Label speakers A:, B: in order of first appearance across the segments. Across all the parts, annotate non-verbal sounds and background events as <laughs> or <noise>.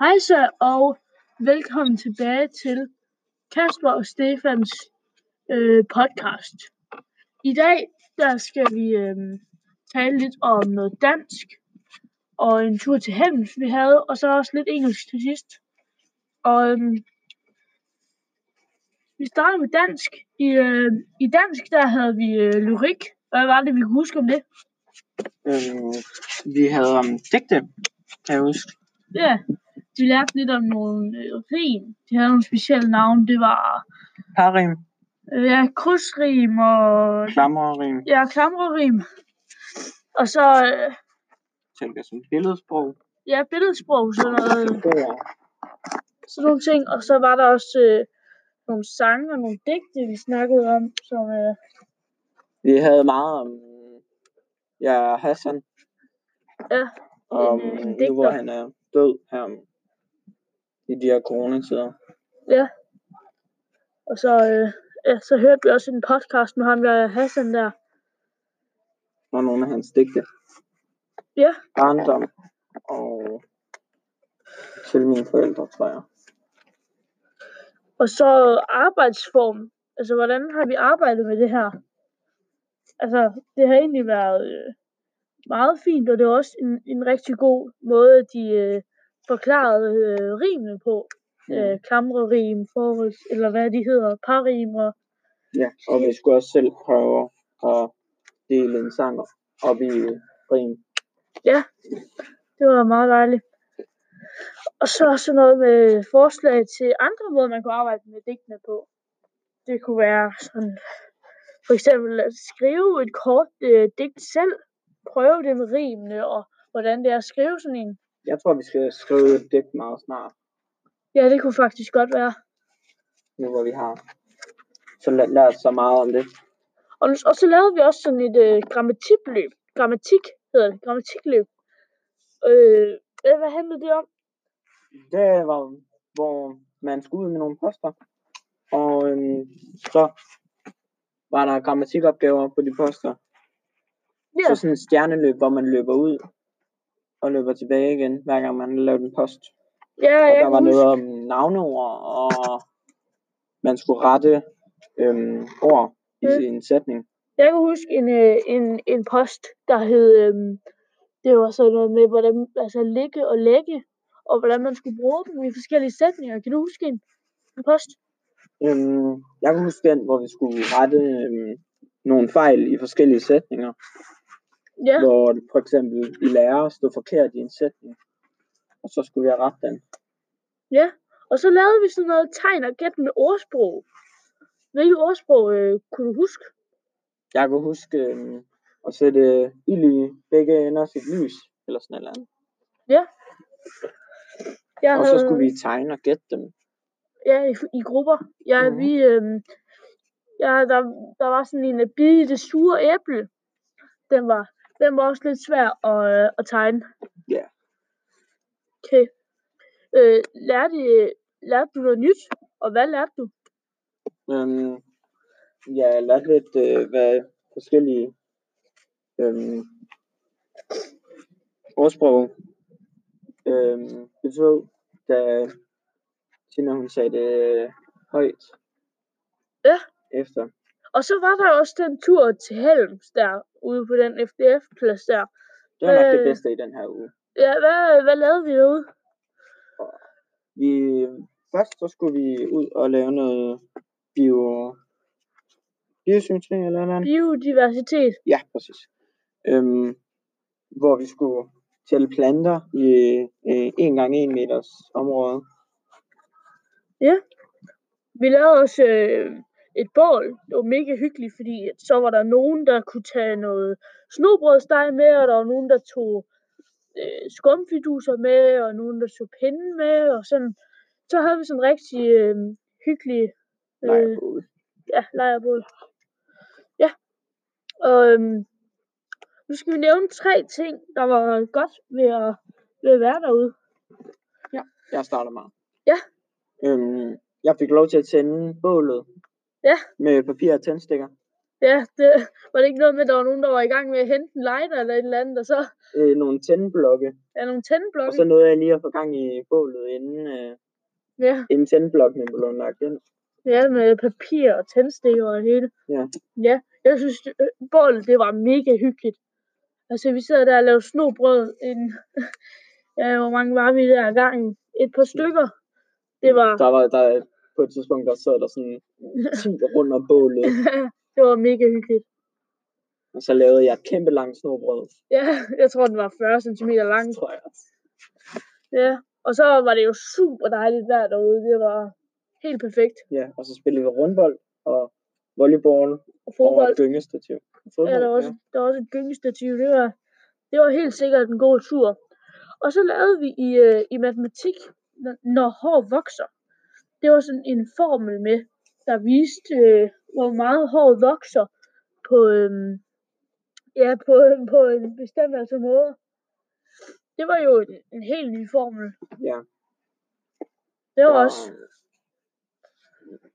A: Hejsa og velkommen tilbage til Kasper og Stefans øh, podcast. I dag der skal vi øh, tale lidt om noget dansk og en tur til Hems, vi havde, og så også lidt engelsk til sidst. Og øh, vi starter med dansk. I, øh, I dansk der havde vi øh, lyrik. Hvad var det, vi kunne huske om det?
B: Øh, vi havde om digte, kan jeg huske.
A: Ja, de lærte lidt om nogle øh, rim. De havde nogle specielle navne. Det var
B: Parrim,
A: øh, ja, krydsrim og
B: klamrerim,
A: ja, klamrerim. Og så øh,
B: tænker som billedsprog,
A: ja, billedsprog, sådan noget,
B: ord.
A: sådan nogle ting. Og så var der også øh, nogle sange og nogle digte, vi snakkede om, som øh,
B: Vi havde meget om ja, Hassan.
A: Ja,
B: Om
A: en, øh, en
B: nu, hvor
A: digter.
B: han er død her om- i de her coronatider.
A: Og så, øh, ja, så hørte vi også en podcast med ham der Hassan der.
B: Og nogle af hans digte.
A: Ja.
B: Barndom og til mine forældre, tror jeg.
A: Og så arbejdsform. Altså, hvordan har vi arbejdet med det her? Altså, det har egentlig været øh, meget fint, og det var også en, en rigtig god måde, at de øh, forklarede øh, rimene på. Øh, klamrerim, forholds, eller hvad de hedder, parrim og
B: Ja, og vi skulle også selv prøve at dele en sang op i rim.
A: Det var meget dejligt. Og så sådan noget med forslag til andre måder, man kunne arbejde med digtene på. Det kunne være sådan, for eksempel at skrive et kort øh, digt selv. Prøve det med rimene og hvordan det er at skrive sådan en.
B: Jeg tror, vi skal skrive et digt meget snart,
A: Ja, det kunne faktisk godt være.
B: nu hvor vi har så læ- lært så meget om det.
A: Og, nu- og så lavede vi også sådan et øh, grammatikløb. Grammatik hedder det. Grammatikløb. Øh, øh, hvad handlede det om?
B: Det var, hvor man skulle ud med nogle poster, og øhm, så var der grammatikopgaver på de poster.
A: Ja,
B: Så sådan et stjerneløb, hvor man løber ud og løber tilbage igen, hver gang man lavede en post.
A: ja
B: Og
A: jeg
B: der var
A: kan
B: noget
A: huske.
B: om navneord, og man skulle rette øhm, ord i
A: Mm.
B: en sætning.
A: Jeg kan huske en, øh, en, en post, der hed, øhm, det var sådan noget med, hvordan altså, ligge og lægge, og hvordan man skulle bruge dem i forskellige sætninger. Kan du huske en, en post?
B: Øhm, jeg kan huske den, hvor vi skulle rette øhm, nogle fejl i forskellige sætninger.
A: Ja,
B: Hvor for eksempel i lærer stod forkert i en sætning, og så skulle vi have rette den.
A: ja. Og så lavede vi sådan noget tegn og gæt med ordsprog. Hvilket ordsprog øh, kunne du huske?
B: Jeg kan huske øhm, at sætte ild i begge ender af sit lys, eller sådan noget. andet.
A: Jeg
B: Og så skulle vi tegne og gætte dem.
A: Ja, i, i grupper. Ja,
B: Mhm.
A: vi... Øhm, ja, der, der var sådan en at bide i det sure æble. Den var, den var også lidt svær at, øh, at tegne.
B: Ja.
A: Okay. Øh, lærte, lærte du noget nyt? Og hvad lærte du?
B: Øhm, ja, jeg lærte lidt, øh, hvad forskellige øhm, ordsprog øhm, betød, da Tina hun sagde det øh, højt.
A: Ja.
B: Efter.
A: Og så var der også den tur til Helms der, ude på den FDF-plads der.
B: Det var nok
A: Øh.
B: det bedste i den her uge.
A: Ja, hvad, hvad lavede vi derude?
B: Vi, først så skulle vi ud og lave noget bio, biosymmetri eller noget.
A: Biodiversitet.
B: Ja, præcis. Øhm, hvor vi skulle tælle planter i øh, 1 gange 1 meters område.
A: Vi lavede også øh, et bål. Det var mega hyggeligt, fordi at så var der nogen, der kunne tage noget snobrødsteg med, og der var nogen, der tog øh, skumfiduser med, og nogen, der tog pinden med, og sådan. Så havde vi sådan en rigtig øh, hyggelig øh,
B: Lejrbål.
A: ja, lejrbål. Ja. Og øhm, nu skal vi nævne tre ting, der var godt ved at, ved at være derude.
B: Jeg starter meget.
A: Ja.
B: Øhm, jeg fik lov til at tænde bålet
A: Ja.
B: med papir og tændstikker.
A: Ja, det, var det ikke noget med, at der var nogen, der var i gang med at hente en lighter eller et eller andet, og så
B: Øh, nogle tændblokke.
A: er nogle
B: Og
A: tændblokke.
B: så nåede jeg lige at få gang i bålet, inden, øh,
A: Ja,
B: inden tændblokkene blev lagt ind.
A: ja, med papir og tændstikker og det hele.
B: Ja.
A: Ja, jeg synes, det- øh, bålet, det var mega hyggeligt. Altså, vi sad der og lavede snobrød. En, <laughs> ja, hvor mange var vi der gang? Et par stykker. Det var,
B: Der var der, på et tidspunkt, der sad der sådan 10 rundt om
A: <laughs>
B: bålet,
A: det var mega hyggeligt.
B: og så lavede jeg et kæmpe langt snobrød,
A: Ja, <laughs> jeg tror, den var 40 cm lang.
B: tror jeg.
A: Ja, og så var det jo super dejligt vejr derude. Det var helt perfekt.
B: Ja, og så spillede vi rundbold og volleyball
A: Og
B: over
A: fodbold,
B: et gyngestativ. Fodbold,
A: ja, der, var også, der var også et gyngestativ. Det var, det var helt sikkert en god tur. Og så lavede vi i, øh, i matematik, når- når hår vokser. Det var sådan en formel med, der viste, øh, hvor meget hår vokser på, øh, ja, på, øhm, på en bestemt altså måde. Det var jo en, en helt ny formel.
B: Ja.
A: Det var også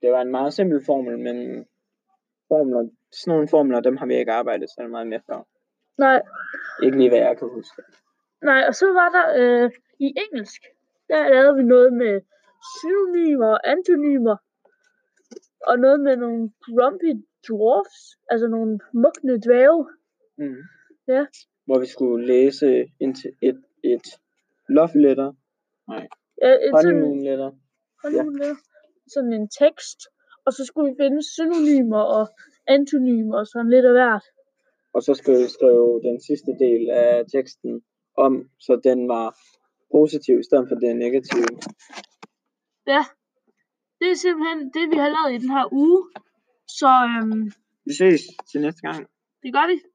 B: Det var en meget simpel formel, men formler, sådan nogle formler, dem har vi ikke arbejdet så meget med før.
A: Nej,
B: Ikke lige, hvad jeg kan huske.
A: nej, og så var der øh, i engelsk, der lavede vi noget med synonymer og antonymer, og noget med nogle grumpy dwarfs, altså nogle mugne dvæve.
B: Mm.
A: Ja.
B: Hvor vi skulle læse en til- et, et love letter,
A: Ja, et sådan,
B: honeymoon letter.
A: honeymoon, ja. sådan en tekst, og så skulle vi finde synonymer og antonymer og sådan lidt af hvert.
B: Og så skulle vi skrive den sidste del af teksten om, så den var positiv i stedet for den negative.
A: Det er simpelthen det, vi har lavet i den her uge, så øhm,
B: Vi ses til næste gang.
A: det gør vi.